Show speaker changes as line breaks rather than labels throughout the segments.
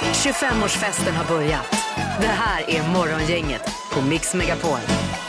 25-årsfesten har börjat. Det här är Morgongänget på Mix Megapol.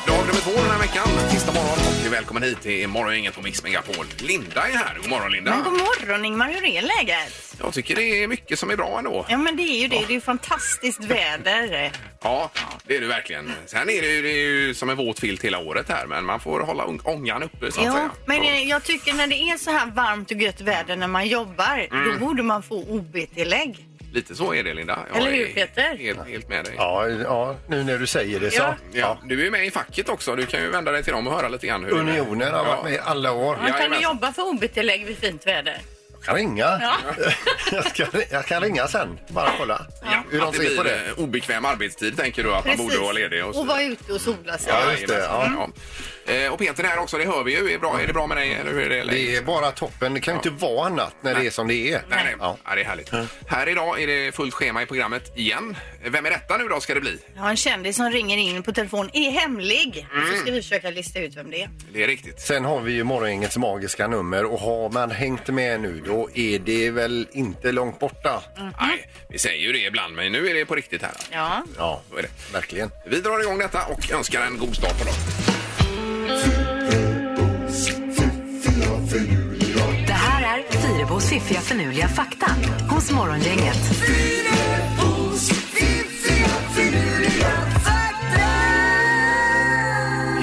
Dag nummer två den här veckan, tisdag morgon. Och välkommen hit till Morgongänget på Mix Megapol. Linda är här. God morgon Linda.
Men god morgon Ingmar, hur är läget?
Jag tycker det är mycket som är bra ändå.
Ja men det är ju det, det är ju fantastiskt väder.
Ja, det är det verkligen. Sen är det ju, det är ju som en våt filt hela året här, men man får hålla ång- ångan uppe så att
Ja,
säga.
men
Ja.
eh, jag tycker när det är så här varmt och gött väder när man jobbar,
Mm.
då borde man få OB-tillägg.
Lite så är det Linda. Jag
Eller hur,
är
Peter?
Helt, helt med dig. Ja.
Ja, ja, nu när du säger det så.
Ja.
du är ju med i facket också. Du kan ju vända dig till dem och höra lite grann hur det är.
Unionen har varit med i alla år.
Man kan
Jajamän.
ju jobba för OB-tillägg vid fint väder.
Jag kan ringa. jag, ska, jag kan ringa sen. Bara kolla hur de
Att det
ser på
blir
det.
eh, obekväm arbetstid tänker du att man borde vara ledig.
och,
så vidare.
vara ute och sola sig.
Ja, just det, ja.
Ja. Eh, Och Peter är här också, det hör vi ju. Är, bra, är det bra med dig? Eller hur är det?
Det är bara toppen. Det kan ju inte vara annat när det är som det är.
Nej, nej.
Ja.
Ja, det är härligt. Här idag är det fullt schema i programmet igen. Vem är detta nu då ska det bli?
Jag har en kändis som ringer in på telefon, är hemlig. Så
Mm.
ska vi försöka lista ut vem det är.
Det är riktigt.
Sen har vi ju morgongängets magiska nummer och har man hängt med nu då är det väl inte långt borta.
Mhm.
Nej, vi säger ju det ibland, men nu är det på riktigt här.
Ja.
Ja,
Så är det.
verkligen.
Vi drar igång detta och önskar en god start på dagen.
Det här är Fyrebos fiffiga förnuliga fakta hos Morgongänget.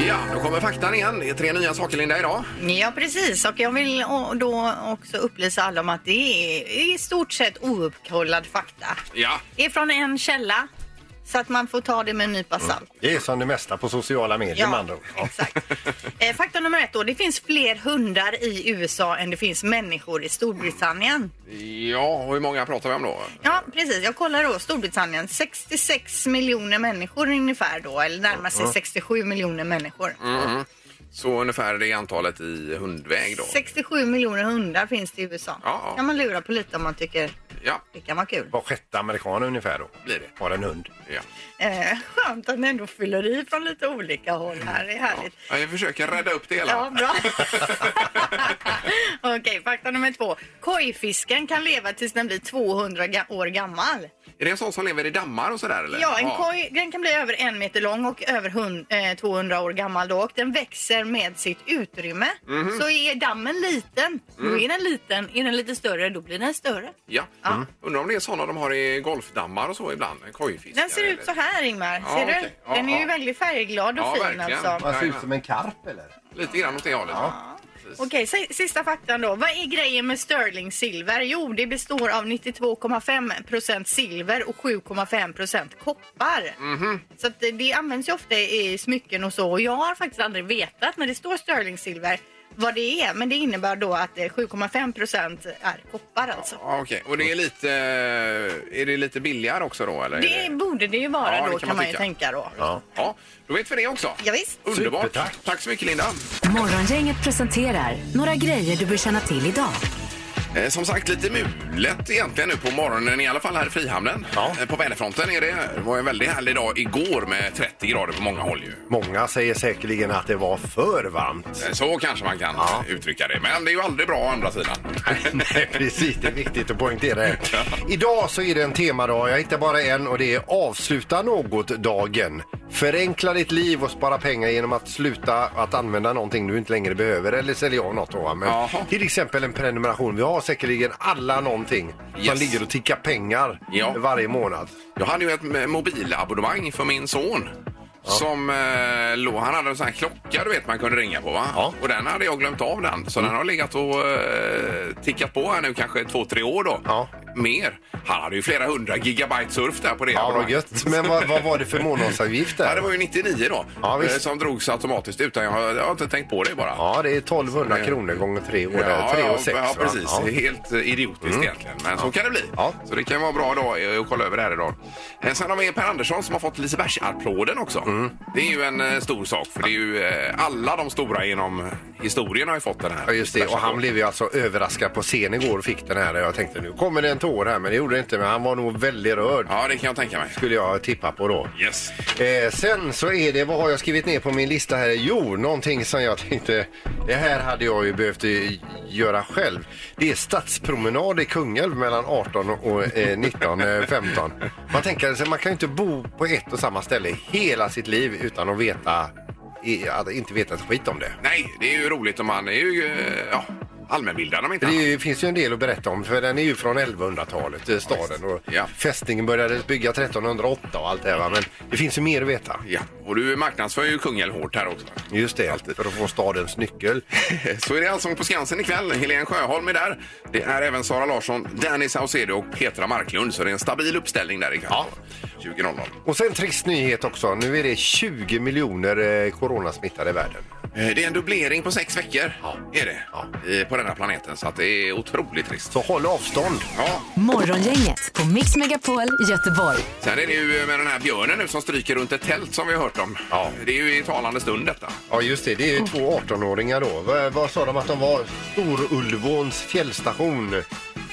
Ja, då kommer faktan igen. Det är tre nya saker Linda idag.
Ja, precis. Och jag vill å- då också upplysa alla om att det är i stort sett ouppkollad fakta.
Ja,
Det är från en källa, så att man får ta det med en nypa salt.
Det är som Mm. det mesta på sociala medier med andra ord. Ja.
exakt. Eh, Fakta nummer ett då. Det finns fler hundar i USA än det finns människor i Storbritannien.
ja och hur många pratar vi om då?
Ja, precis. Jag kollar då Storbritannien. 66 miljoner människor ungefär då, eller närmar
Mm.
sig 67 miljoner människor.
Så ungefär det antalet i hundväg då?
67 miljoner hundar finns det i USA.
Ja, ja.
kan man lura på lite om man tycker
Ja,
det kan vara kul.
Var sjätte amerikan ungefär då
blir det.
har en hund.
Ja.
Eh, skönt att ni ändå fyller i från lite olika håll här. Det är härligt.
Ja, jag försöker rädda upp det hela.
Ja, bra. Okej, fakta nummer två. Kojfisken kan leva tills den blir 200 ga- år gammal.
Är det en sån som lever i dammar och sådär eller?
Ja, en koj den kan bli över en meter lång och över hun- eh, 200 år gammal då och den växer med sitt utrymme.
Mhm.
Så är dammen liten,
Mm.
då är den liten. Är den lite större, då blir den större.
Ja. mm. Undrar om det är såna de har i golfdammar och så ibland? En kojfisk?
Den ser ut så här, Ingmar.
Ja,
Ser du?
okej. Ja,
Den är ju
ja.
väldigt färgglad och
Ja,
fin
verkligen.
alltså.
Man ser ut som en karp eller?
Lite grann åt det hållet. Ja.
Okej, si- sista faktan då. Vad är grejen med sterling silver? Jo, det består av 92,5 silver och 7,5 koppar.
Mhm.
Så att det- det används ju ofta i smycken och så. Och jag har faktiskt aldrig vetat när det står sterling silver vad det är. Men det innebär då att eh, 7,5 är koppar alltså.
Ja, okej. Och
Mm.
det är lite, eh, är det lite billigare också då? Eller?
Det borde det ju vara
Ja, det
då
kan
kan
man
man, ju
tycka.
tänka då.
Ja.
Ja, då vet vi det också.
Ja, visst.
Underbart.
Supertack.
Tack så mycket Linda.
Morgongänget presenterar några grejer du bör känna till idag.
Eh, som sagt lite mulet egentligen nu på morgonen, i alla fall här i Frihamnen.
Ja.
Eh, på väderfronten är det. Det var en väldigt härlig dag igår med 30 grader på många håll ju.
Många säger säkerligen att det var för varmt.
Eh, Så kanske man kan
Ja.
uttrycka det. Men det är ju aldrig bra å andra sidan.
Nej, precis. Det är viktigt att poängtera det. Idag så är det en temadag, jag hittar bara en och det är avsluta något-dagen. Förenkla ditt liv och spara pengar genom att sluta att använda någonting du inte längre behöver eller sälja av något. Då, va? Men
Jaha.
till exempel en prenumeration. Vi har säkerligen alla någonting som
Yes.
ligger och tickar pengar
Ja.
varje månad.
Jag hade ju ett m- mobilabonnemang för min son. Som eh, låg, han hade en sån här klocka du vet man kunde ringa på va?
Ja. Mm.
Och den hade jag glömt av den. Så den har legat och eh, tickat på här nu kanske två, tre år då.
Ja.
Mer. Han hade ju flera hundra gigabyte surf där på det
Ja, vad
abonnemanget.
gött. Men vad, vad var det för månadsavgift
Ja, det var
där?
ju 99 då.
Ja, visst.
eh, som drogs automatiskt utan jag, har- jag har inte tänkt på det bara.
Ja, det är 1200 kronor gånger tre år. där. tre och sex,
ja,
va? Mm.
precis. Helt eh, idiotiskt egentligen. Men så kan det bli.
Ja.
Så det kan vara bra idag eh, att kolla över det här idag. Eh, Sen har vi Per Andersson som har fått Lisebergsapplåden också.
Mm.
Det är ju en eh, stor sak för det är ju eh, alla de stora genom historien har ju fått den här.
Ja, just det. Och han
Lisebergsapplåden.
blev ju alltså överraskad på scen igår och fick den här. Jag tänkte nu kommer det en år här, men det gjorde det inte. Men han var nog väldigt rörd,
Ja, det kan jag tänka mig.
skulle jag tippa på då.
Yes.
Eh, sen så är det, vad har jag skrivit ner på min lista här? Jo, någonting som jag tänkte, det här hade jag ju behövt eh, göra själv. Det är stadspromenad i Kungälv mellan 18 och eh, 19, eh, 15. Man tänker sig, man kan ju inte bo på ett och samma ställe hela sitt liv utan att veta, i, att inte veta ett skit om det.
Nej, det är ju roligt om man är ju eh, ja, allmänbildad om inte
Det
annat.
är ju- finns ju en del att berätta om för den är ju från 1100-talet, eh, staden. Och
Ja.
Fästningen började bygga 1308 och allt det här. va? Men det finns ju mer att veta.
Ja, och du marknadsför ju Kungälv hårt här också.
Just det, för att få stadens nyckel.
Så är det Allsång på Skansen ikväll. Helene Sjöholm är där. Det är även Sara Larsson, Danny Saucedo och Petra Marklund. Så det är en stabil uppställning där ikväll. Ja. 20.00.
Och sen trist nyhet också. Nu är det 20 miljoner eh, coronasmittade i världen.
Eh, Det är en dubblering på sex veckor
Ja.
är det,
Ja.
I- på den här planeten. Så att det är otroligt trist.
Så håll avstånd.
Ja,
Morgongänget på Mix Megapol Göteborg.
sen är det ju med den här björnen nu som stryker runt ett tält som vi har hört om.
Ja.
Det är ju i talande stund detta.
Ja, just det. Det är ju två 18-åringar då. Vad, vad sa de att de var? Storulvåns fjällstation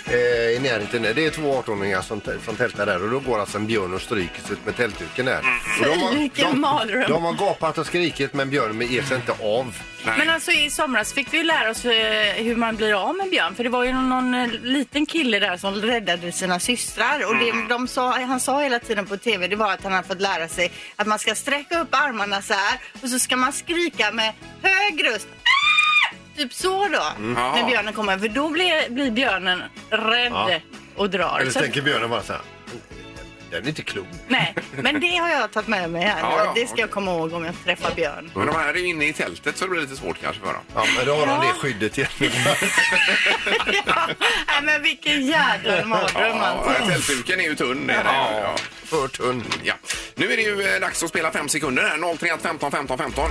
eh, i närheten. Det är två 18-åringar som, t- som tältar där och då går alltså en björn och stryker sig ut med tältduken där. Och de har-
Vilken
de-
mardröm.
De har gapat och skrikit men björnen ger sig inte av.
Nej.
Men alltså i somras fick vi ju lära oss eh, hur man blir av med björn. För det var ju någon, någon eh, liten kille där som räddade sina systrar. Och
Mm.
det de sa, han sa hela tiden på tv det var att han hade fått lära sig att man ska sträcka upp armarna så här och så ska man skrika med hög röst. "Ah!" Typ så då,
Mm. Ja.
när björnen kommer. För då blir, blir björnen rädd
Ja.
och drar.
Eller
Så-
tänker björnen bara så här. Den är inte klok.
Nej, men det har jag tagit med mig här. nu.
Ja, ja,
det ska
okej.
jag komma ihåg om jag träffar björn.
Men de här är ju inne i tältet så det blir lite svårt kanske för dem.
Ja, men då har de
Ja.
det skyddet igen.
Ja, nej, men vilken jädra mardröm alltså.
Ja, tältduken är ju tunn. Är det. Ja.
För tunn.
Ja. Nu är det ju eh, dags att spela fem sekunder här. 031 15 15 15.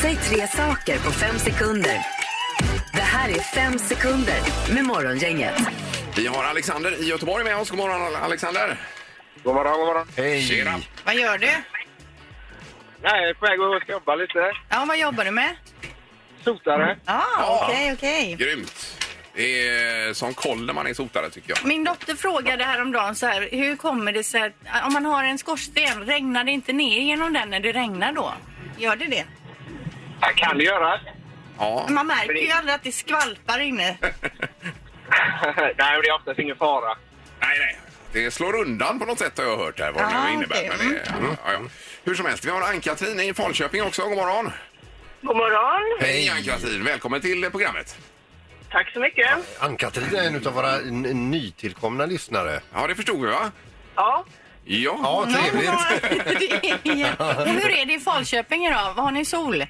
Säg tre saker på fem sekunder. Det här är fem sekunder med Morgongänget.
Vi har Alexander i Göteborg med oss. God morgon Alexander!
God morgon, god morgon.
Hej!
Tjena!
Vad gör du?
Nej, jag är på väg att jobba lite.
Ja, vad jobbar du med?
Sotare.
Ja,
Ja.
okej, okej.
Grymt! Det är som koll när man är sotare tycker jag.
Min dotter frågade häromdagen så här, hur kommer det sig att om man har en skorsten, regnar det inte ner genom den när det regnar då? Gör det det?
Jag kan det göra.
Ja.
Man märker ju aldrig att det skvalpar inne.
Nej, men det är oftast ingen fara.
Nej, nej. Det slår undan på något sätt har jag hört här vad det
Ja,
nu innebär.
okej.
Men det, ja, ja. Hur som helst, vi har Ann-Katrin i Falköping också. God morgon!
God morgon.
Hej Ann-Katrin! Välkommen till eh, programmet.
Tack så mycket.
Ann-Katrin är en av våra n- nytillkomna lyssnare.
Ja, det förstod vi va?
Ja,
Ja.
Ja, trevligt.
Det är- Och hur är det i Falköping idag? Har ni sol?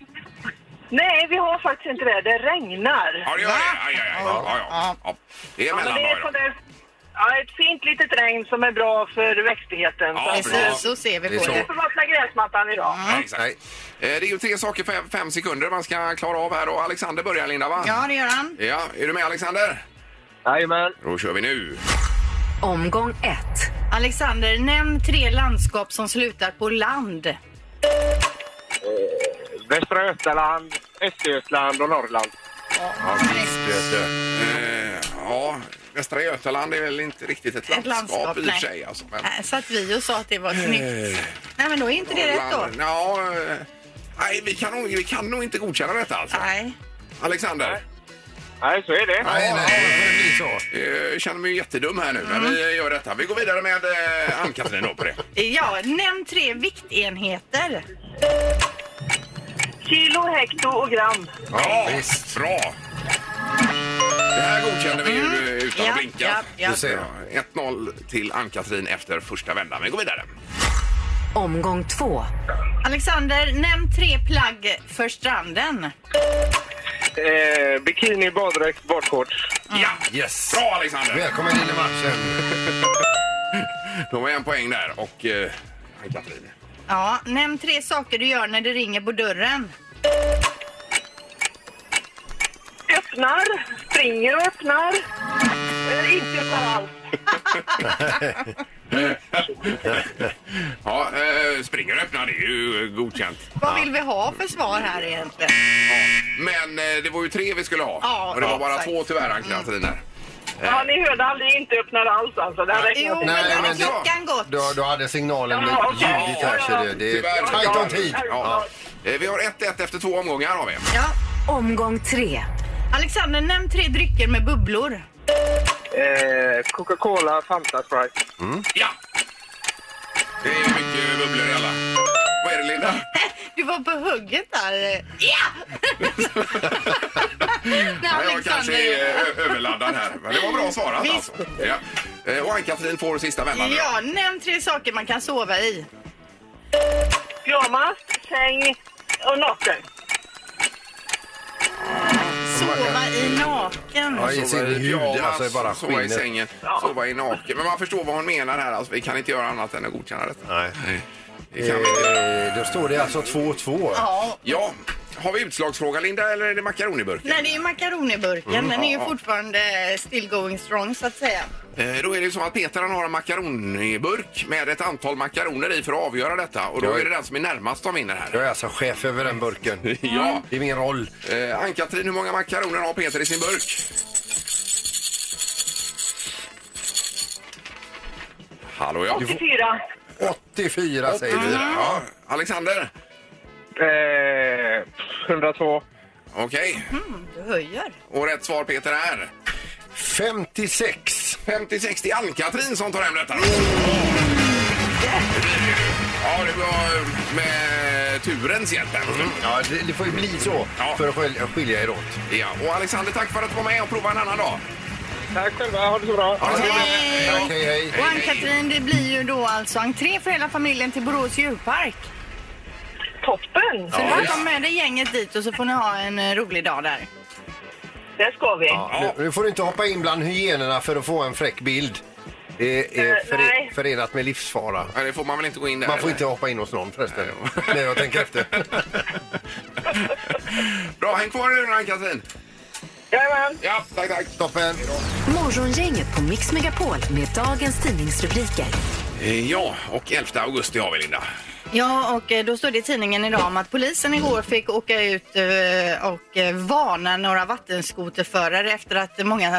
nej vi har faktiskt inte det. Det regnar.
Ja, det gör det. Aj, aj, aj. Ja, ja. ja. Det är
Ja, men det är
mellandag
sån
idag.
där, ja, ett fint litet regn som är bra för växtligheten.
Ja,
så att,
precis.
eh,
Precis, så ser
Det
vi
är
på
så.
vi
det.
får vattna gräsmattan idag.
Ja, exakt.
Nej.
Eh, Det är ju tre saker för fem sekunder man ska klara av här och Alexander börjar Linda va?
Ja, det gör han.
Ja, är du med Alexander?
Jajamän.
Då kör vi nu.
Omgång ett.
Alexander, nämn tre landskap som slutar på land.
Västra Götaland, Östergötland och Norrland.
Ja, visst, vet du.
Eh, ja, Västra Götaland är väl inte riktigt ett landskap,
Ett landskap,
i och för
nej.
sig. Alltså, men...
Äh, satt vi och sa att det var snyggt. Nej, men då är inte det rätt då.
Land- Ja, eh, nej, vi kan, nog, vi kan nog inte godkänna detta alltså.
Nej.
Alexander,
Nej, så är det.
Nej, nej, det blir så.
eh, jag känner mig ju jättedum här nu,
Mm.
men vi gör detta. Vi går vidare med eh, Ann-Katrin då på det.
Ja, nämn tre viktenheter.
Kilo, hekto och gram.
Ja, bra! Det här godkände vi ju eh, utan
Mm. Ja,
att blinka.
ja, ja.
Du ser.
Ja, 1-0 till Ann-Katrin efter första vändan. Vi går vidare.
Mm.
Omgång två.
Alexander, nämn tre plagg för stranden.
Eh, bikini, baddräkt, badshorts.
Ja!
Yes.
Bra Alexander!
Välkommen till i matchen.
Då har vi en poäng där och eh, Ann-Katrin.
Ja, nämn tre saker du gör när det ringer på dörren.
Öppnar, springer och öppnar. Eh, inte öppnar alls.
Ja, eh, springer och öppnar, det är ju godkänt.
Vad vill vi ha för svar här egentligen?
Men eh, det var ju tre vi skulle ha.
Ja,
och det var
ja,
bara
exakt. Mm.
två tyvärr, Ann-Katrin. där.
Ja, ni hörde aldrig inte öppnar alls alltså. Det här
Jo,
räknas inte.
men,
Nej, men det-
klockan gått.
Då, då hade signalen blivit
Ja, okej.
ljudligt här. Så det, det är
Tyvärr.
tajt om tid.
Ja. Eh, Vi har 1-1 efter två omgångar har vi.
Ja.
Omgång tre.
Alexander, nämn tre drycker med bubblor.
Eh, Coca-Cola, Fanta, Sprite.
Ja! Det är mycket bubblor i alla. Vad är det Linda?
Du var på hugget där. Ja! När
Ja, jag kanske är ö- överladdad här. Men det var bra svarat alltså. Ja. Eh, Och Ann-Katrin får sista vändan nu.
Ja, nämn tre saker man kan sova i.
Pyjamas, säng och naken.
Sova i naken.
Ja, i sin hud,
pyjamas,
alltså bara
sova i
skinnet.
sängen, sova i naken. Men man förstår vad hon menar här. Alltså, vi kan inte göra annat än att godkänna detta.
Nej.
Det kan vi inte.
Eh, Då står det alltså 2-2.
Ja.
Ja, har vi utslagsfråga Linda eller är det makaroniburken?
Nej, det är ju makaroniburken. Den är ju
ja.
fortfarande eh, still going strong så att säga.
Eh, Då är det ju så att Peter han har en makaroniburk med ett antal makaroner i för att avgöra detta. Och då
Ja.
är det den som är närmast som vinner här.
Jag är alltså chef över den burken.
Ja.
Det är min roll.
Eh, Ann-Katrin, hur många makaroner har Peter i sin burk? Hallå ja.
84.
84 säger vi.
Ja, Alexander.
Eh, 102.
Okej.
Du höjer.
Och rätt svar Peter är
56.
56 till Ann-Katrin som tar hem detta. Ja, det var med turens hjälp. här.
Mm, Ja, det, det får ju bli så
Ja.
för att skilja, skilja er åt.
Ja, och Alexander, tack för att du var med och prova en annan dag.
Tack själva, ha det så bra.
Ha det så bra.
Hej!
Tack, hej, hej.
Och Ann-Katrin, det blir ju då alltså entré för hela familjen till Borås djurpark.
Toppen!
Så du har ta med dig gänget dit och så får ni ha en eh, rolig dag där.
Det ska vi.
Ja, nu, nu får du inte hoppa in bland hyenorna för att få en fräck bild. Det är
Eh,
före,
nej.
förenat med livsfara.
Nej, det får man väl inte gå in där?
Man får
eller?
inte hoppa in hos någon förresten. Nej, jag tänker efter.
Bra, häng kvar nu Ann-Katrin.
Jajamän!
Ja, tack, tack.
Toppen.
Morgongänget på Mix Megapol med dagens tidningsrubriker.
Eh, Ja, och 11 augusti har vi Linda.
Ja, och eh, då står det i tidningen idag om att polisen igår fick åka ut eh, och eh, varna några vattenskoterförare efter att många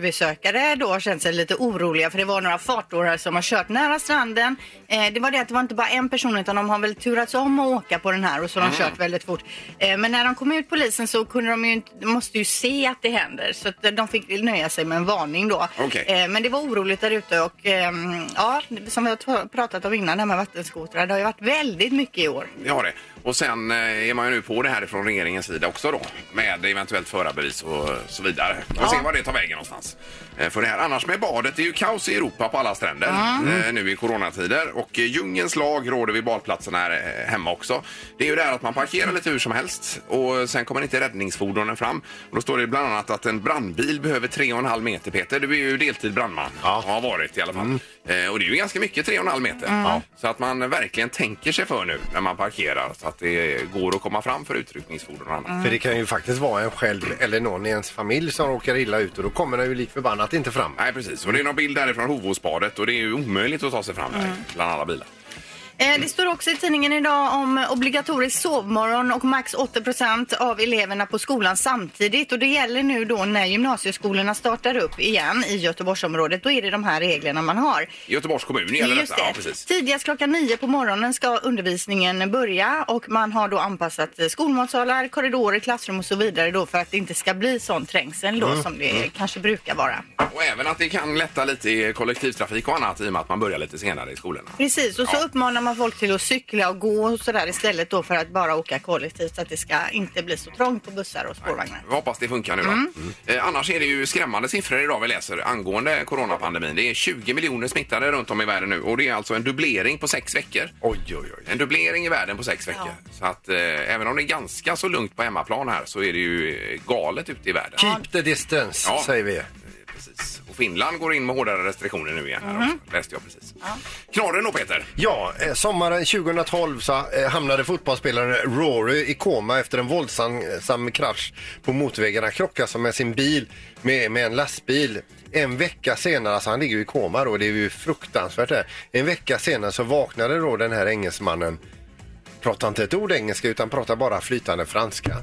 strandbesökare då har känt sig lite oroliga för det var några fartdårar som har kört nära stranden. Eh, Det var det att det var inte bara en person utan de har väl turats om att åka på den här och så har de kört väldigt fort. Eh, Men när de kom ut polisen så kunde de ju inte, de måste ju se att det händer så att eh, de fick nöja sig med en varning då.
Okej.
Eh, Eh, Men det var oroligt där ute och ehm, ja, som vi har t- pratat om innan det här med vattenskotrar, det har ju varit väldigt mycket i år.
Det har det. Och sen eh, är man ju nu på det här från regeringens sida också då. Med eventuellt förarbevis och eh, så vidare. Vi får se var det tar vägen någonstans. Eh, För det här annars med badet, det är ju kaos i Europa på alla stränder eh, nu i coronatider. Och eh, djungelns lag råder vid badplatserna här eh, hemma också. Det är ju det här att man parkerar lite hur som helst och eh, sen kommer inte räddningsfordonen fram. Och då står det bland annat att en brandbil behöver 3,5 meter Peter. Du är ju deltid brandman.
Ja.
Har varit i alla fall.
Mm.
Eh, och det är ju ganska mycket 3,5 meter. Så att man verkligen tänker sig för nu när man parkerar så att det går att komma fram för utryckningsfordon och
Mm.
annat.
För det kan ju faktiskt vara en själv eller någon i ens familj som råkar illa ut och då kommer den ju lik förbannat inte fram.
Nej precis, och det är någon bild därifrån Hovåsbadet och det är ju omöjligt att ta sig fram
Mm.
där bland alla bilar.
Eh, Det står också i tidningen idag om obligatorisk sovmorgon och max 80 av eleverna på skolan samtidigt. Och det gäller nu då när gymnasieskolorna startar upp igen i Göteborgsområdet. Då är det de här reglerna man har.
Göteborgs kommun gäller
Just
detta.
det.
Ja, precis.
Tidigast klockan nio på morgonen ska undervisningen börja och man har då anpassat eh, skolmatsalar, korridorer, klassrum och så vidare då för att det inte ska bli sån trängsel då
Mm,
som det kanske brukar vara.
Och även att det kan lätta lite i kollektivtrafik och annat i och med att man börjar lite senare i skolorna.
Precis, och så
Ja.
uppmanar man folk till att cykla och gå och sådär istället då för att bara åka kollektivt så att det ska inte bli så trångt på bussar och spårvagnar.
Vi hoppas det funkar nu då. Mm. Eh, annars är det ju skrämmande siffror idag vi läser angående coronapandemin. Det är 20 miljoner smittade runt om i världen nu och det är alltså en dubblering på sex veckor.
Oj, oj, oj.
En dubblering i världen på sex veckor. Så att eh, även om det är ganska så lugnt på hemmaplan här så är det ju eh, galet ute i världen.
Keep the distance,
Ja.
säger vi.
Precis. Och Finland går in med hårdare restriktioner nu igen här
Mhm.
också. Läste jag precis. Knorren då Peter?
Ja, eh, sommaren 2012 så eh, hamnade fotbollsspelaren Rory i koma efter en våldsam sam krasch på motorvägen. Han krockade som med sin bil med, med en lastbil. En vecka senare, alltså han ligger ju i koma då, det är ju fruktansvärt det här. En vecka senare så vaknade då den här engelsmannen. Pratar inte ett ord engelska utan pratar bara flytande franska.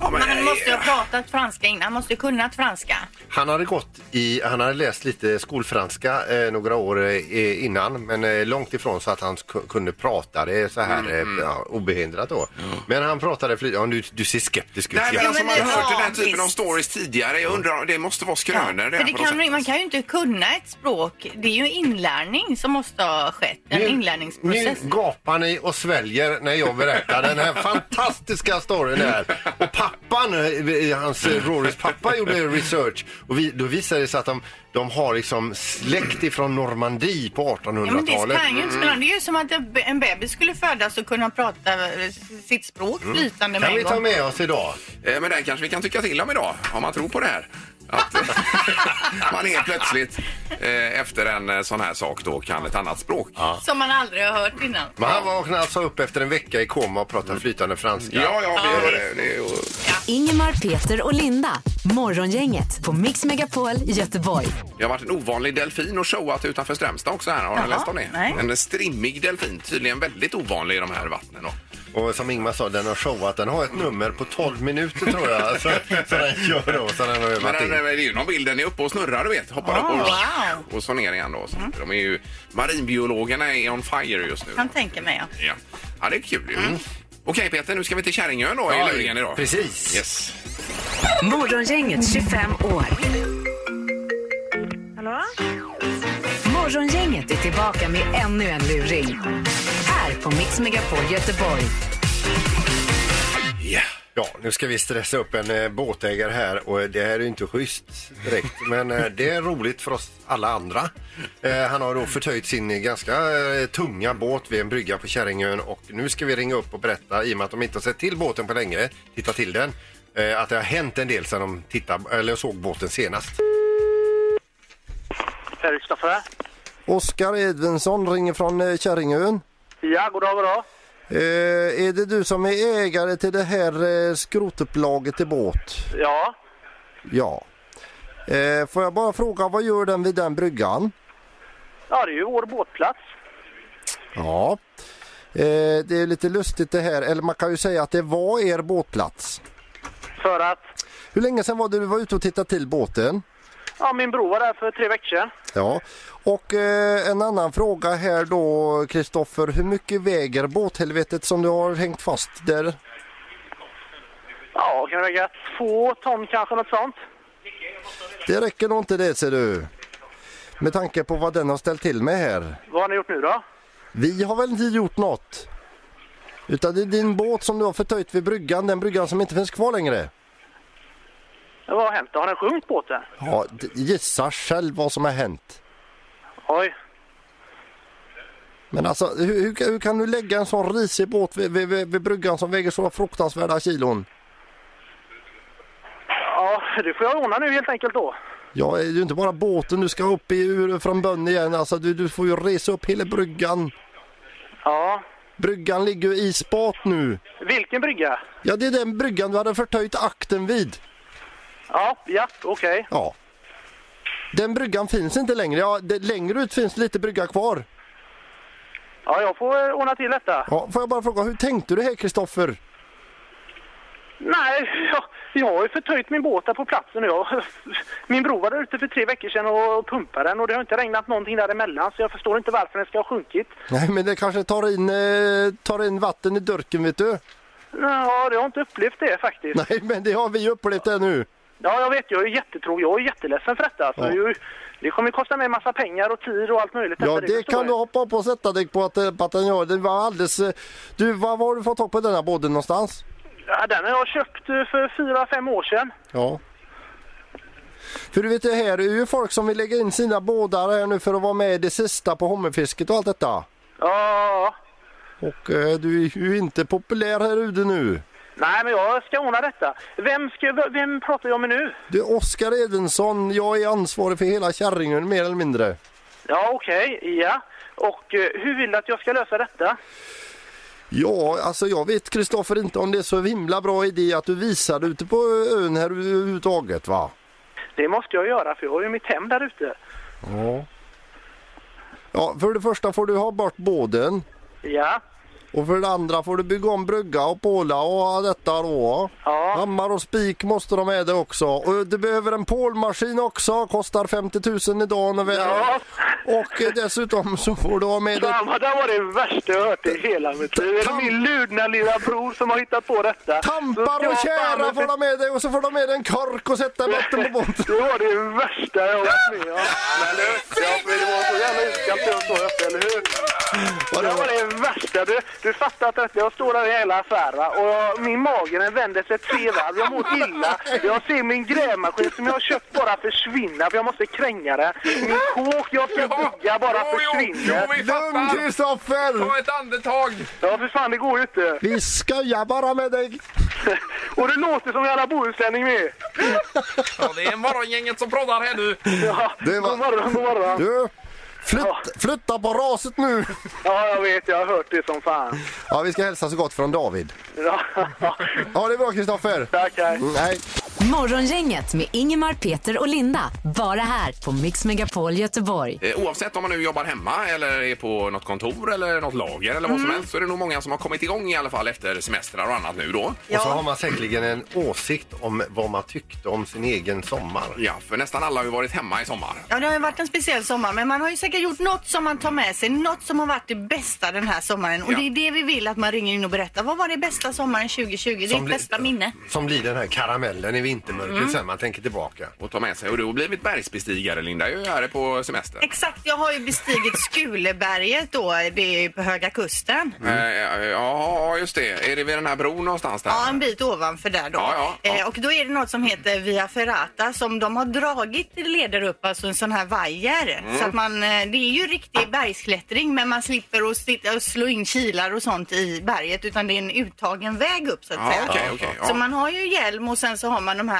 Ja,
Men han måste ju
eh,
ha pratat franska innan, han måste ju kunnat franska.
Han hade gått i, han hade läst lite skolfranska eh, några år eh, innan men eh, långt ifrån så att han sk- kunde prata det så
Mm,
här eh, ja, obehindrat då. Men han pratade flyt. Ja, du, du ser skeptisk ut.
Nej, men
Ja.
alltså
men
man har
det-
hört den här
ja,
typen av
visst.
stories tidigare. Jag undrar, det måste vara skrönor det
För det
här på något
kan,
sätt.
man kan ju inte kunna ett språk. Det är ju inlärning som måste ha skett. En
nu
inlärningsprocess.
gapar ni och sväljer när jag berättar den här fantastiska storyn här. Och pappan, eh, hans eh, Rorys pappa gjorde research och vi, då visade det sig att de, de har liksom släkt ifrån Normandie på
Ja, men det
1800-talet.
kan ju inte spela. Det är ju som att en be- en bebis skulle födas och kunna prata eh, sitt språk flytande
Mm.
med
Kan vi
en
ta
gång.
med oss idag?
Eh, Men den kanske vi kan tycka till om idag, om man tror på det här. Att eh, man är plötsligt eh, efter en eh, sån här sak då kan ett annat språk.
Som man aldrig har hört innan.
Men han vaknade alltså upp efter en vecka i koma och pratade flytande franska.
Ja, ja, vi
Ja,
gör det.
visst.
det är ju...
Ingemar, Peter och Linda. Morgongänget på Mix Megapol Göteborg.
Det har varit en ovanlig delfin och showat utanför Strömstad också här. Har ni
Jaha,
läst om det?
nej.
En strimmig delfin, tydligen väldigt ovanlig i de här vattnen. Då.
Och som Ingmar sa, den har showat. Den har ett nummer på 12 minuter tror jag. Så, så den gör då. Så den har
Men
övat
den, det
in.
är ju någon bild, den är uppe och snurrar du vet. Hoppar
Ah,
upp och,
wow.
och så ner igen då. Så de är ju, marinbiologerna är on fire just nu.
Kan tänka mig, ja.
Ja, ja det är kul ju.
Mm.
Okej Peter, nu ska vi till Käringön då i luringen idag.
Precis.
Yes.
Morgongänget 25 år.
Hallå?
Morgongänget är tillbaka med ännu en luring. Här på Mix Megapol Göteborg.
Ja.
Ja, nu ska vi stressa upp en eh, båtägare här och eh, det här är ju inte schysst direkt. Men eh, det är roligt för oss alla andra. Eh, han har då förtöjt sin eh, ganska eh, tunga båt vid en brygga på Käringön och nu ska vi ringa upp och berätta, i och med att de inte har sett till båten på länge, titta till den, eh, att det har hänt en del sedan de tittade, eller såg båten senast.
Är det Kristoffer?
Oskar Edvinsson ringer från eh, Käringön.
Ja, goddag, goddag.
Eh, är det du som är ägare till det här eh, skrotupplaget i båt?
Ja.
Ja. Eh, får jag bara fråga, vad gör den vid den bryggan?
Ja, det är ju vår båtplats.
Ja. Eh, det är lite lustigt det här, eller man kan ju säga att det var er båtplats.
För att
Hur länge sedan var det du var ute och tittade till båten?
ja, min bror var där för tre veckor sedan.
Ja. Och eh, en annan fråga här då, Kristoffer. Hur mycket väger båthelvetet som du har hängt fast där?
Ja, kan det väga två ton kanske, något sånt.
Det räcker nog inte det ser du. Med tanke på vad den har ställt till med här.
Vad har ni gjort nu då?
Vi har väl inte gjort något? Utan det är din båt som du har förtöjt vid bryggan, den bryggan som inte finns kvar längre.
Vad har hänt? då? Har den sjunkit båten?
Ja, d- gissa själv vad som har hänt.
Oj.
Men alltså, hur, hur, kan- hur kan du lägga en sån risig båt vid, vid, vid, vid bryggan som väger så fruktansvärda kilon?
Ja, det får jag ordna nu helt enkelt då.
Ja, det är ju inte bara båten du ska upp i ur från bön igen. Alltså, du, du får ju resa upp hela bryggan.
Ja.
Bryggan ligger ju i spat nu.
Vilken brygga?
Ja, det är den bryggan du hade förtöjt akten vid.
Ja, ja, okej.
Ja. Den bryggan finns inte längre. Ja, det, längre ut finns lite brygga kvar.
Ja, jag får eh, ordna till detta.
Ja, får jag bara fråga, hur tänkte du här Kristoffer?
Nej, jag, jag har ju förtöjt min båt där på platsen. och Jag, min bror var där ute för tre veckor sedan och pumpade den och det har inte regnat någonting däremellan så jag förstår inte varför den ska ha sjunkit.
Nej, men det kanske tar in, eh, tar in vatten i dörken vet du.
Ja, jag har inte upplevt det faktiskt.
Nej, men det har vi upplevt ännu.
Ja, jag vet, jag är jättetråkig. Jag är jätteledsen för detta. För
Ja.
ju, det kommer ju kosta mig massa pengar och tid och allt möjligt.
Ja,
detta,
det
förstår
kan
jag.
du hoppa på och sätta dig på att, eh, på att den gör. Det var alldeles... eh, Du, var, var har du fått tag på denna båten någonstans?
Ja, den har jag köpt eh, för fyra, fem år sedan.
Ja. För du vet, det här är ju folk som vill lägga in sina bådar här nu för att vara med i det sista på hummerfisket och allt detta.
Ja,
Och eh, du är ju inte populär här ute nu.
nej men jag ska ordna detta. Vem, ska, v- vem pratar jag med nu?
Du, Oskar Edensson, jag är ansvarig för hela Kärringön mer eller mindre.
Ja, okej, ja. Och eh, hur vill du att jag ska lösa detta?
Ja, alltså jag vet Kristoffer inte om det är så himla bra idé att du visar det ute på ön här överhuvudtaget va?
Det måste jag göra för jag har ju mitt hem där ute.
Ja. Ja, för det första får du ha bort båden.
Ja,
Och för det andra får du bygga om brygga och påla och detta då.
Ja.
Hammar och spik måste de ha med det också. Och du behöver en pålmaskin också, kostar 50 000 idag. När vi...
Ja.
Och eh, dessutom så får du ha med dig
Fan, vad det var det värsta jag hört i hela mitt liv. Är det min ludna lilla bror som har hittat på detta? Så
tampar
ska
och
jag
tjära
fan-
får de ha med dig och så får de ha med dig en kork och sätta i botten på båten.
Det var det värsta jag har varit med om. Men du, jag, det var så jävla iskallt jag står uppe, eller hur? Det var det värsta. Du, du fattar att jag står där i hela affären va? och jag, min mage den vänder sig tre varv. Jag mår illa. Jag ser min grävmaskin som jag har köpt bara försvinna för jag måste kränga den. Min kåk jag ska bygga bara
Jo, jo,
försvinner.
Jo, vi
Lugn
fattar!
Kristoffer!
Ta ett andetag!
Ja, för fan det går ju inte.
Vi skojar bara med dig.
Och det låter som jävla bohuslänning med.
Ja, det är morgongänget som pratar här nu.
Ja,
Det var-
God morgon, god morgon.
Du, flytt, flytta på raset nu.
Ja, jag vet. Jag har hört det som fan.
Ja, vi ska hälsa så gott från David.
Ja,
Ja, det är bra Kristoffer.
tack, hej.
Mm, hej.
Morgongänget med Ingemar, Peter och Linda. Bara här på Mix Megapol Göteborg.
Eh, Oavsett om man nu jobbar hemma eller är på något kontor eller något lager eller vad
Mm.
som helst så är det nog många som har kommit igång i alla fall efter semestrar och annat nu då.
Och så har man säkerligen en åsikt om vad man tyckte om sin egen sommar.
Ja, för nästan alla har ju varit hemma i sommar.
Ja, det har ju varit en speciell sommar, men man har ju säkert gjort något som man tar med sig, något som har varit det bästa den här sommaren. Och
Ja.
det är det vi vill att man ringer in och berättar. Vad var det bästa sommaren 2020? Ditt
blir-
bästa minne?
Som blir den här karamellen i vintermörkret sen man tänker tillbaka.
Och ta med sig. Och du har blivit bergsbestigare Linda, jag är ju här på semester.
Exakt, jag har ju bestigit Skuleberget då, det är ju på Höga Kusten.
Eh, Ja, just det. Är det vid den här bron någonstans där?
Ja, en bit ovanför där då.
Ja, ja, ja.
Eh, och då är det något som heter Via Ferrata som de har dragit leder upp, alltså en sån här vajer.
Mm.
Så att man, eh, det är ju riktig bergsklättring men man slipper att sitta och slå in kilar och sånt i berget utan det är en uttagen väg upp så att
Ja,
säga.
okej, okej, ja.
Så man har ju hjälm och sen så har man de här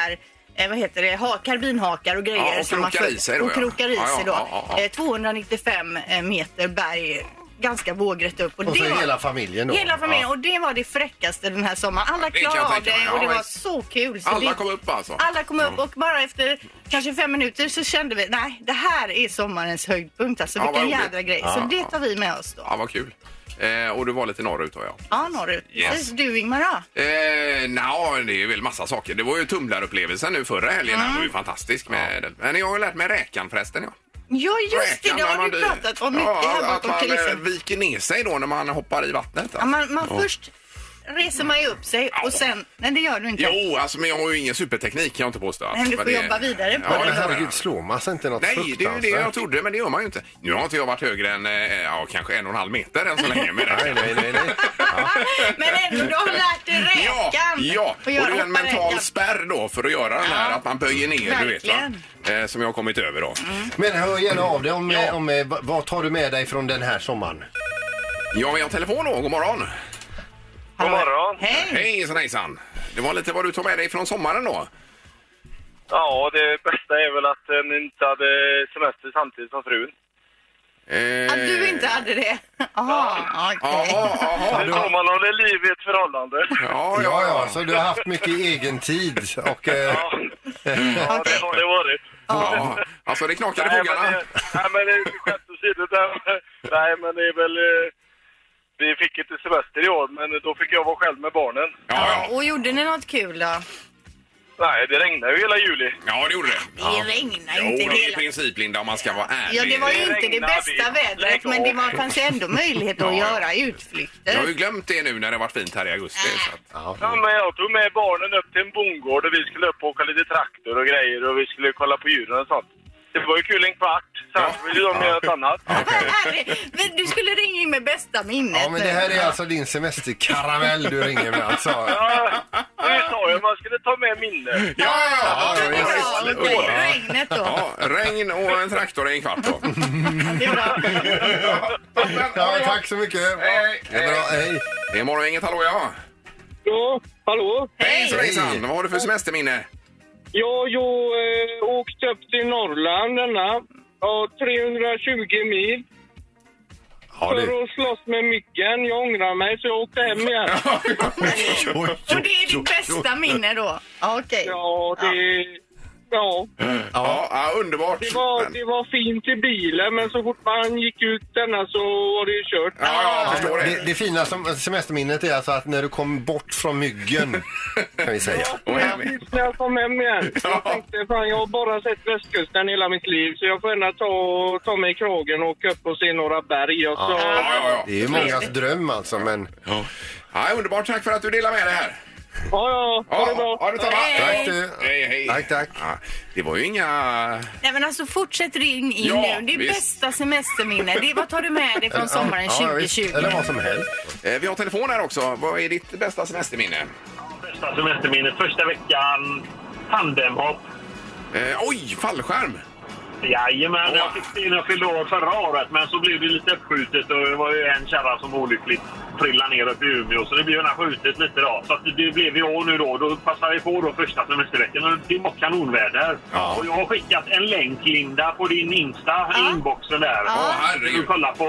eh, vad heter det? Ha, karbinhakar och grejer.
Ja, och
som man
krokar i
följer-
sig då,
Och
ja.
krokar i
Ja, ja,
sig då.
ja, ja, ja.
Eh, 295 meter berg, ganska vågrätt upp.
Och så
det var-
hela familjen då.
Hela familjen.
Ja.
Och det var det fräckaste den här sommaren. Alla
det kan jag
klarade av
tänka mig.
det och
Ja,
det var
visst.
så kul. Så
Alla
det,
kom upp alltså?
alla kom upp och bara efter kanske fem minuter så kände vi nej, det här är sommarens höjdpunkt. Alltså
Ja,
vilken
vad roligt.
jädra grej. Så
Ja,
det
ja.
tar vi med oss då.
Ja, vad kul. Eh, och du var lite norrut då, ja.
Ja, norrut.
Yes.
Precis. Du Ingmar då?
Eh, Nja, det är väl massa saker. Det var ju tumlarupplevelsen nu förra helgen. Den var
Mm.
ju fantastisk. Med, Men jag har ju lärt mig räkan förresten. Ja.
Ja, just det.
Räkan,
Det
när
har
man
du
dyker.
pratat om mycket
ja,
här
att-
bakom
Att man eh,
kulissen.
viker ner sig då när man hoppar i vattnet. alltså.
Ja, man man
Ja.
först reser man ju upp sig
Ja.
och sen... Nej, det gör du inte.
Jo, alltså, men jag har ju ingen superteknik kan jag inte påstå. Alltså.
Nej, men du får
det-
jobba vidare på
ja,
Men
det. får jag.
herregud, slår man sig inte något
Nej, det är ju det
fruktansvärt?
jag trodde, men det gör man ju inte. Nu har inte jag varit högre än eh, ja, kanske en och en halv meter än så länge med räkan.
Nej, nej, nej, nej.
Men ändå, du har lärt dig
Ja,
räkan.
ja. och det
göra
är en
hoppa
mental
räkan.
spärr då för att göra den här
Ja.
att man böjer ner, du
Verkligen. Mm.
vet va? Eh, som jag har kommit över då.
Men hör gärna av dig om,
Ja.
om, eh, vad tar du med dig från den här sommaren?
Ja, vi har telefon då. God morgon!
God morgon.
Hej!
Hejsan hejsan! Det var lite vad du tog med dig från sommaren då.
Ja, det bästa är väl att eh, ni inte hade semester samtidigt som frun.
Eh,
Att du inte hade det? Jaha, okej.
Jaha, jaha.
Nu får man ha det liv i ett förhållande.
Ja,
Ja, alltså, ja, så du har haft mycket egen tid och... Eh,
Ja, ja det har det varit.
ja. Alltså det knakade i
Nej, men,
fogarna.
det- nej, men det är skämt åsido. det- Nej, men det är väl... eh, Vi fick inte semester i år, men då fick jag vara själv med barnen.
Ja, ja.
Och gjorde ni något kul då?
Nej, det regnade ju hela juli.
ja, det gjorde det.
Det
Ja.
regnar
Jo,
ju inte
i
hela...
princip Linda om man ska vara ärlig.
Ja, det var ju
Det
inte det
regnade
bästa
i-
vädret, men det var fanns ju ändå möjlighet att
Ja, ja.
göra
Jag har ju
utflykter.
glömt det nu när det har varit fint här i augusti. Så att,
Ja, men jag tog med barnen upp till en bondgård och vi skulle upp och åka lite traktor och grejer och vi skulle kolla på djuren och sånt. Det var ju kul en kvart, sen ville de göra något annat.
Vad härligt. Men Du skulle ringa in med bästa minnet.
ja, men det här är alltså din semesterkaramell du ringer med alltså.
Ja, det sa jag, man skulle ta med minne.
ja, ja, ja,
Ja,
ja,
ja,
ja,
Bra, okej.
visst. Underbart.
Regnet då.
Ja, regn och en traktor i en kvart då.
Det är bra.
Ja, tack så mycket.
Hej,
Det är bra, hej.
Det är morgon, inget hallå ja.
Ja, hallå?
Hejsan,
Hej.
hejsan. Vad har du för semesterminne?
Ja, jag eh, åkte upp till Norrland denna. Ja, 320 mil
Ja, det...
för att slåss med myggen. Jag ångrar mig så jag åkte hem igen.
Och det är ditt bästa minne då? Ja, Okej.
Ja, det... ja.
Ja, ja underbart.
Det var,
Men-
det var fint i bilen, men så fort man gick ut denna så var det ju kört.
Ja, ja, jag förstår
Det,
det.
det fina som semesterminnet är alltså att när du kom bort från myggen, kan vi säga.
Och hem igen.
Precis när jag kom hem igen.
Ja.
Jag tänkte, fan jag har bara sett västkusten hela mitt liv så jag får gärna ta, ta mig i kragen och åka upp och se några berg. Och så,
Ja, ja, ja.
Det är ju mångas dröm alltså, men...
Ja. Ja, underbart. Tack för att du delar med dig här.
ja, ja, ha det bra.
ha det samma.
Tack du!
Hej, hej.
Tack, tack.
Ja, det var ju inga...
Nej men alltså fortsätt ring in
Ja,
nu. Det är
visst.
bästa semesterminne. Det, vad tar du med dig från sommaren
Ja, visst.
2020?
Eller vad som helst.
Eh, Vi har telefon här också. Vad är ditt bästa semesterminne?
Första semesterminnet, första veckan, tandemhopp.
Eh, oj, fallskärm!
Jajamän,
Åh.
jag fick det när jag fyllde år förra året, men så blev det lite uppskjutet och det var ju en kärra som olyckligt trillade ner upp i Umeå, så det blev gärna skjutet lite då. Så att det blev i år nu då. Då passade vi på då första semesterveckan och det var kanonväder.
Ja.
Och jag har skickat en länk, Linda, på din Insta, i inboxen där.
Åh,
Du kan
herregud.
kolla på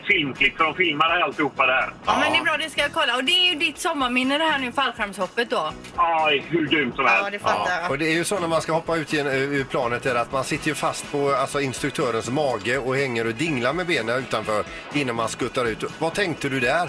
ett filmklipp, för de filmade alltihopa där.
Ja, men det är bra, det ska jag kolla. Och det är ju ditt sommarminne det här nu, fallskärmshoppet då.
Ja, hur grymt som helst.
Ja, det fattar jag.
Och det är ju så när man ska hoppa ut igen, eh, ur planet där att man sitter ju fast på alltså, instruktörens mage och hänger och dinglar med benen utanför innan man skuttar ut. Vad tänkte du där?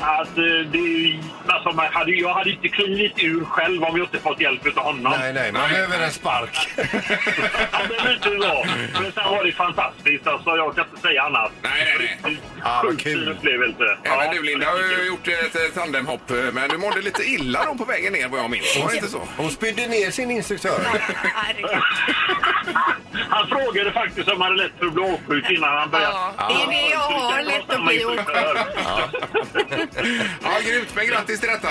Att eh, det, är ju- alltså, man hade, jag hade inte klivit ur själv om jag inte fått hjälp av honom.
Nej, nej, man
Nej.
behöver en spark.
Ja, men lite så. Men sen var det fantastiskt. Alltså, jag kan inte säga annat.
Nej, nej, nej.
Ja, vad
Sjukt
kul.
fin upplevelse.
Även du Linda har ju gjort ett eh, tandemhopp, eh, men du mådde lite illa då på vägen ner vad jag minns. Var det inte så?
Hon spydde ner sin instruktör.
Herregud.
Han frågade faktiskt om han hade lätt för att bli åksjuk innan han började.
Ja, det är det jag har, lätt att bli
åksjuk.
Ja, grymt, men grattis till detta!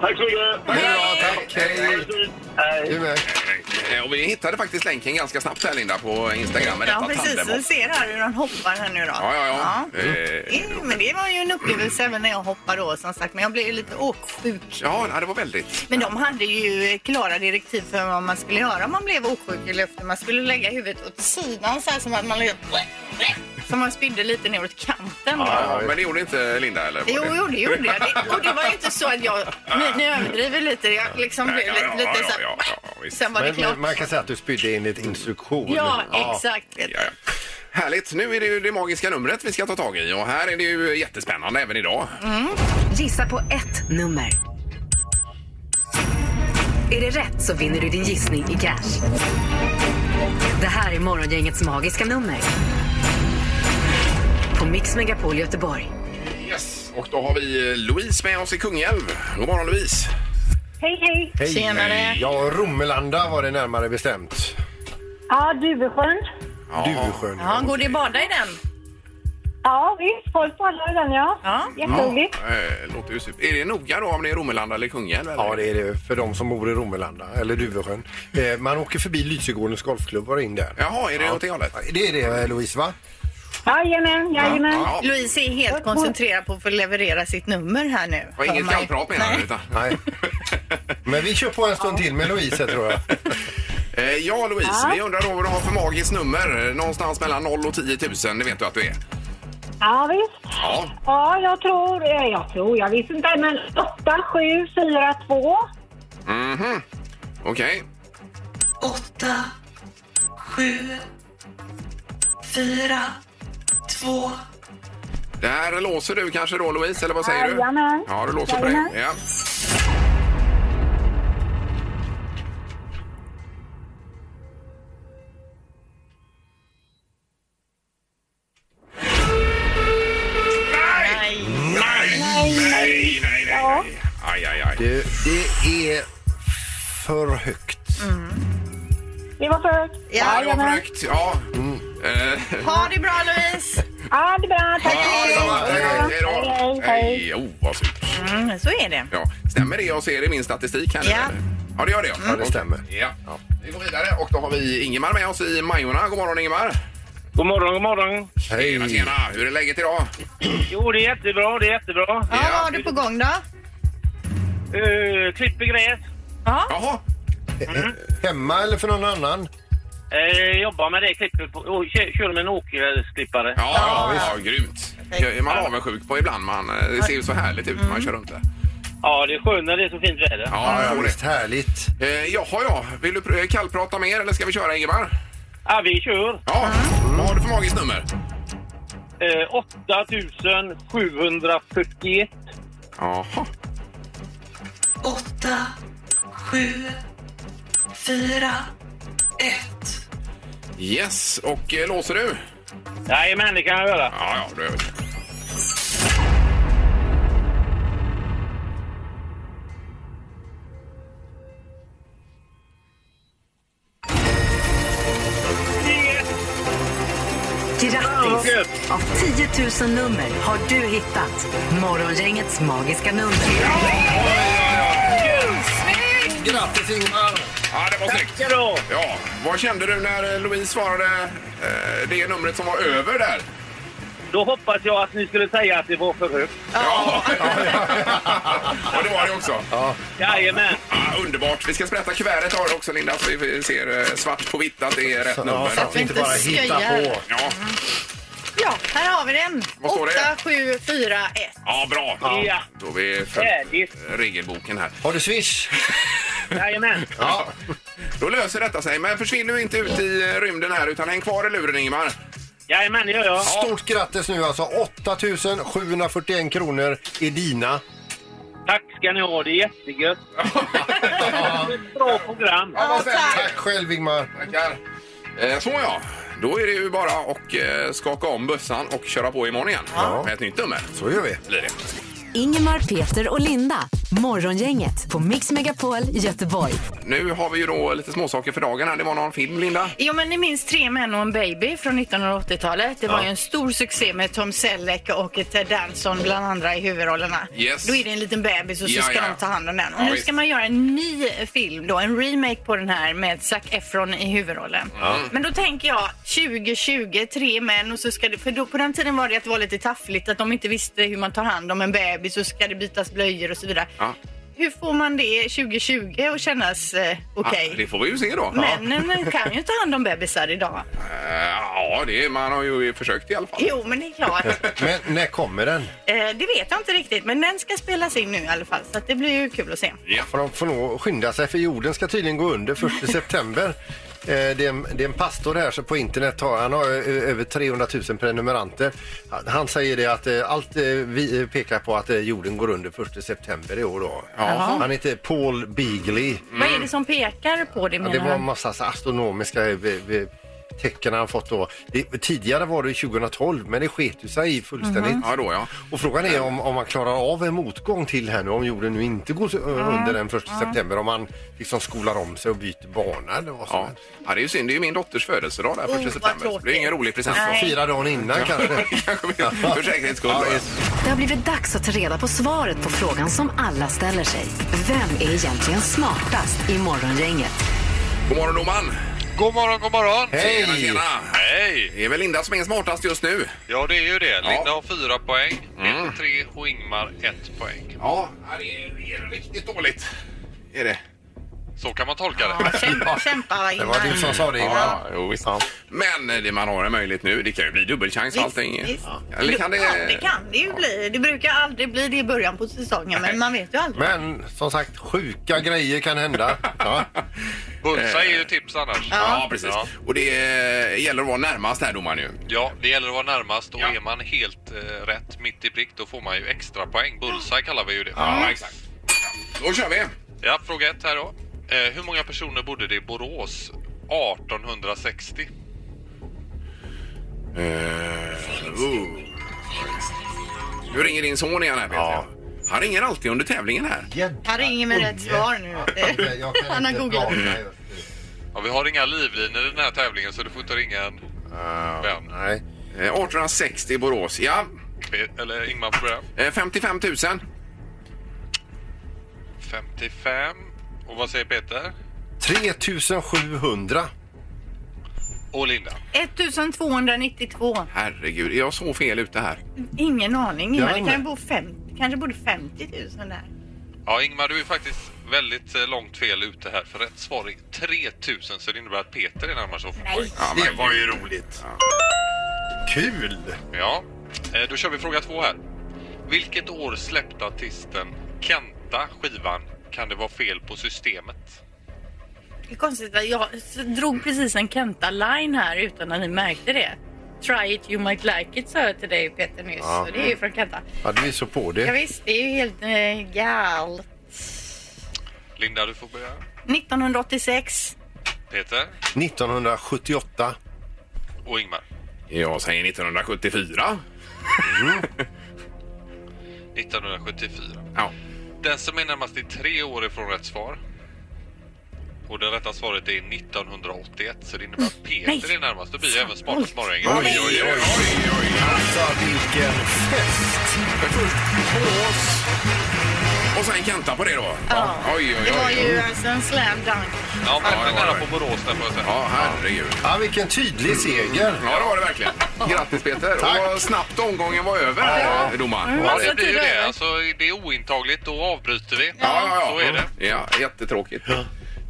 Tack så mycket.
Det är bra, tack.
Ha
Hej!
det fint. Hej.
Du med.
Eh, Och vi hittade faktiskt länken ganska snabbt här Linda på Instagram med
Ja,
detta
precis. Du
tandemhopp.
ser här hur de hoppar här nu då.
Ja, ja, ja. Eh,
Eh, Men det var ju en upplevelse även när jag hoppade då som sagt. Men jag blev ju lite åksjuk.
Ja, nej, det var väldigt.
Men de hade ju klara direktiv för vad man skulle göra om man blev åksjuk i luften. Man skulle lägga huvudet åt sidan så här som att man låg... Så man spydde lite ner åt kanten. då.
Ja, men det gjorde inte Linda eller? var
Jo,
det?
jo, det gjorde jag. Det, och det var ju inte så att jag... Ni, ni överdriver lite. Jag liksom
Nej,
blev
ja, ja,
lite
ja,
så här...
ja, ja, visst.
Sen var det
Men,
klart.
men man kan säga att du spydde enligt instruktion.
ja, exakt. vet du.
Ja, ja. Härligt! Nu är det ju det magiska numret vi ska ta tag i och här är det ju jättespännande även idag.
Gissa på ett nummer. Är det rätt så vinner du din gissning i cash. Det här är Morgongängets magiska nummer. På Mix Megapol Göteborg.
Yes, och då har vi eh, Louise med oss i Kungälv. God morgon Louise!
Hej, hej.
Hej.
Tjenare.
Ja, Romelanda var det närmare bestämt.
Ja, Duvesjön.
Ja.
Duvsjön.
Ja, går det att bada i den?
Ja, visst. Folk talar i den, ja.
Ja.
Jätteroligt.
Eh, Låter ju super. Är det noga då om det är Romelanda eller Kungälv? Eller?
Ja, det är det för de som bor i Romelanda, eller Duvesjön. Eh, man åker förbi Lysekårens golfklubb och in där.
Jaha, är det åt det hållet?
Det är det, Louise, va?
Jajamän, jajamän.
Ja,
Louise är helt koncentrerad på att få leverera sitt nummer här nu.
och inget kallprat menar han, utan.
Nej. Men vi kör på en stund till med Louise, tror jag.
Eh, Ja, Louise, vi undrar då vad du har för magiskt nummer. Eh, Någonstans mellan 0 och 10 000, det vet du att du är.
Ja, visst.
Ja,
Ja, jag tror... eh, Jag tror, jag vet inte. Men 8, 7, 4, 2.
okej.
åtta, sju, fyra, två.
Där låser du kanske då, Louise, eller vad säger du?
Jajamän.
Ja, du låser på dig.
Jajamän.
Ja.
Nej.
Nej, nej, nej, nej. Aj, aj, aj.
Det, det är för högt.
Det var för...
Ja, det var för
Jajamän.
högt. Ja. Eh,
Ha det bra Louise!
Ja, det är bra. Tack.
ja, det var-
Hej,
Hej då.
hej, hej, hej.
Hej. Oh, vad surt.
Mm, så är det.
Ja, stämmer det jag ser i min statistik här nu?
Ja.
eller? Ja, det gör det.
Ja, det stämmer.
Ja. Vi går vidare och då har vi Ingemar med oss i Majorna. God morgon Ingemar!
God morgon, god morgon.
Tjena, tjena!
Mm.
Hur är läget idag?
Jo, det är jättebra, det är jättebra.
Ja, vad har du på gång då?
Uh, klipper gräs,
Ja.
Jaha!
Hemma eller för någon annan?
uh, jobbar med det, klipper på, och kör, kör med en åkgräsklippare.
Ja,
Mm.
ja, ja, grymt! Det är man avundsjuk på ibland. Man, eh, det ser ju så härligt ut när man kör runt där.
Ja, det är skönt när det är så fint väder.
Ja, jag tror det.
Härligt.
Eh, jaha, ja. Vill du pr- eh, kallprata mer eller ska vi köra, Ingemar?
Ja, vi kör.
Ja. Vad har du för magiskt nummer?
Eh, 8741.
Jaha.
åtta, sju, fyra, ett.
Yes, och eh, låser du?
Jajamän, det kan jag göra.
Ja, ja, då gör vi det.
Grattis! Av 10 000 nummer har du hittat Morgongängets magiska nummer.
Grattis Ingmar!
Ja, det var snyggt. Tack Ja, vad kände du när eh, Louise svarade eh, det numret som var över där?
Då hoppas jag att ni skulle säga att det var för högt.
Ja, ja det var det också. Ja.
Jajamän.
underbart. Vi ska sprätta kuvertet har du också Linda, så vi ser eh, svart på vitt att det är rätt
Ja,
nummer.
så att vi inte bara hittar på.
Ja,
Ja, här har vi den.
Vad står det?
8741.
ja bra.
Ja.
Då har vi följt
Härligt.
eh, regelboken här.
Har du swish?
Jajamän.
Ja. Då löser detta sig. Men försvinn nu inte ut i eh, rymden här utan häng kvar i luren Ingemar.
Jajamän, det gör jag.
Stort grattis nu alltså. 8 741 kronor är dina.
Tack ska ni ha. Det är jättegött. Ett Bra program.
Tack själv Ingmar.
Tackar. Eh, Så ja. Då är det ju bara att eh, skaka om bössan och köra på imorgon igen med ett nytt nummer.
Så gör vi.
Blir det.
Ingemar, Peter och Linda. Morgongänget på Mix Megapol Göteborg.
Nu har vi ju då lite småsaker för dagen. här. Det var någon film, Linda?
Jo, men ni minns Tre män och en baby från 1980-talet. Det var
Ja.
ju en stor succé med Tom Selleck och Ted Danson bland andra i huvudrollerna.
Yes.
Då är det en liten bebis och så
Ja,
ska
ja.
de ta hand om den. Och
Ja,
nu
visst.
ska man göra en ny film då, en remake på den här med Zac Efron i huvudrollen. Men då tänker jag 2020, tre män och så ska det, för då på den tiden var det att det var lite taffligt att de inte visste hur man tar hand om en bebis och så ska det bytas blöjor och så vidare.
Ja.
Hur får man det 2020 att kännas eh, okej?
Ja, det får vi ju se då. Ja.
Männen kan ju ta hand om bebisar idag.
Eh, Ja, det, man har ju försökt i alla fall.
Jo, men det är klart.
Men när kommer den?
Eh, det vet jag inte riktigt, men den ska spelas in nu i alla fall. Så att det blir ju kul att se.
För de får nog skynda sig för jorden ska tydligen gå under 1 september. Eh, Det är, en, det är en pastor här så på internet har, han har eh, över 300 000 prenumeranter. Han- Han säger det att eh, allt eh, vi eh, pekar på att eh, jorden går under 1 september i år då.
Jaha.
Han heter Paul Beagley.
Vad är det som pekar på det,
Ja,
menar
det var en
han?
massa så astronomiska eh, eh, tecken han fått då. Det, tidigare var det 2012 men det sket ju sig i fullständigt.
Ja, då ja.
Och frågan är om, om man klarar av en motgång till här nu, om jorden nu inte går så- eh,
Mm.
under den 1 september, om man liksom skolar om sig och byter bana eller vad som
Ja.
helst.
ja, det är ju synd. Det är ju min dotters födelsedag där,
Oh,
första
vad
september. Det
tråkigt.
är ingen rolig present. då.
Nej.
Fyra dagen innan kanske.
Kanske vi- För säkerhets skull.
Ja,
då,
visst.
Det har blivit dags att ta reda på svaret på frågan som alla ställer sig. Vem är egentligen smartast i Morgongänget?
God morgon, domaren.
God morgon, god morgon!
Hej!
Tjena, tjena.
Hej!
Det är väl Linda som är smartast just nu?
Ja, det är ju det. Linda
Ja.
har fyra poäng, Peter tre och Ingmar ett poäng.
Ja, det är, det är riktigt dåligt. Är det?
Så kan man tolka
Ja,
det.
kämpa, kämpa
Det var du som sa det Ingmar.
Ja, jo, visst. Men eh, det man har en möjlighet nu, det kan ju bli dubbelchans och allting.
Visst, visst.
Eller kan det...
Ja, det kan det ju bli. Det brukar aldrig bli det i början på säsongen, men man vet ju aldrig.
Men som sagt, sjuka grejer kan hända. Ja. Eh.
Bullseye är ju tips annars.
Ja, precis.
Ja.
Och det eh, gäller att vara närmast här domaren ju.
Ja, det gäller att vara närmast och
Ja.
är man helt eh, rätt mitt i prick då får man ju extra poäng. Bullseye kallar vi ju det.
Ja, exakt. Ja. Då kör vi.
Ja, fråga ett här då. Eh, hur många personer bodde det i Borås 1860?
Uh, Nu ringer din son igen här Peter.
Ja.
Han ringer alltid under tävlingen här.
Han ringer med rätt svar nu.
Jag kan
Han har
inte
googlat.
prata just nu.
Ja, vi har inga livlinor i den här tävlingen så du får inte ringa en
Ja,
vän.
nej.
Eh, 1860 i Borås. Ja,
Pe- Eller Ingmar får börja.
Eh, 55 000.
55. Och vad säger Peter?
3700.
Och Linda.
1292.
Herregud, är jag så fel ute här?
Ingen aning.
Ja,
Ingmar. Det
men-
kan ju bo fem, kanske borde 50 000 där.
Ja, Ingmar, du är faktiskt väldigt eh, långt fel ute här. För rätt svar är 3000, så det innebär att Peter är närmast att få poäng.
Ja, men, det var ju roligt.
Kul!
Ja, eh, då kör vi fråga två här. Vilket år släppte artisten Kent sista skivan kan det vara fel på systemet.
Det är konstigt att jag s- drog precis en Kenta-line här utan att ni märkte det. Try it, you might like it, sa jag till dig Peter nyss.
Ja.
Och det är ju från Kenta.
Ja, du är så på
Ja,
det.
visst, det är ju helt eh, galet.
Linda, du får börja.
1986.
Peter
1978.
och Ingmar.
Jag säger 1974.
1974.
Ja.
Den som är närmast i tre år ifrån rätt svar. Och det rätta svaret är 1981, så det innebär att Peter
Nej.
är närmast. Då blir även
Oj.
smartast morgon.
Oj, oj, oj.
Alltså vilken fest!
Bås. Och sen Kenta på det då.
Ja.
Oj, oj,
Det var
oj.
ju alltså en slam dunk.
Ja, men det var nära på Borås där får jag säga.
Ja, herregud.
Ja, vilken tydlig seger.
Ja, det var det verkligen. Grattis Peter.
Tack.
Och snabbt omgången var över,
Ja.
eh, domaren.
Mm.
Ja, det blir ju det. Alltså, det är ointagligt, då avbryter vi.
Ja, ja, ja.
Så är det.
Ja, jättetråkigt.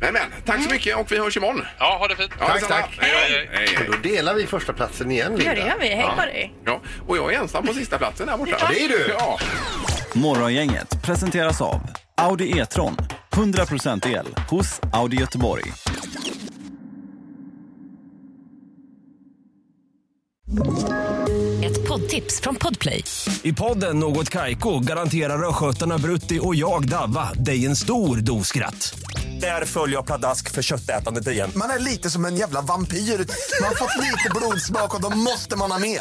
Men, men, tack så mycket och vi hörs imorgon.
Ja, ha det fint.
Ja,
Tack,
detsamma.
tack.
Hej, hej, hej. hej.
Och då delar vi första platsen igen,
Ja,
Linda.
det gör vi. Hej på dig.
Ja, och jag är ensam på sista platsen där borta.
Ja, det är du.
Ja.
Morgongänget presenteras av Audi E-tron. 100% el hos Audi Göteborg.
Ett poddtips från Podplay.
I podden Något Kaiko garanterar östgötarna Brutti och jag, Davva, dig en stor dos skratt. Där följer jag pladask för köttätandet igen.
Man är lite som en jävla vampyr. Man har fått lite blodsmak och då måste man ha mer.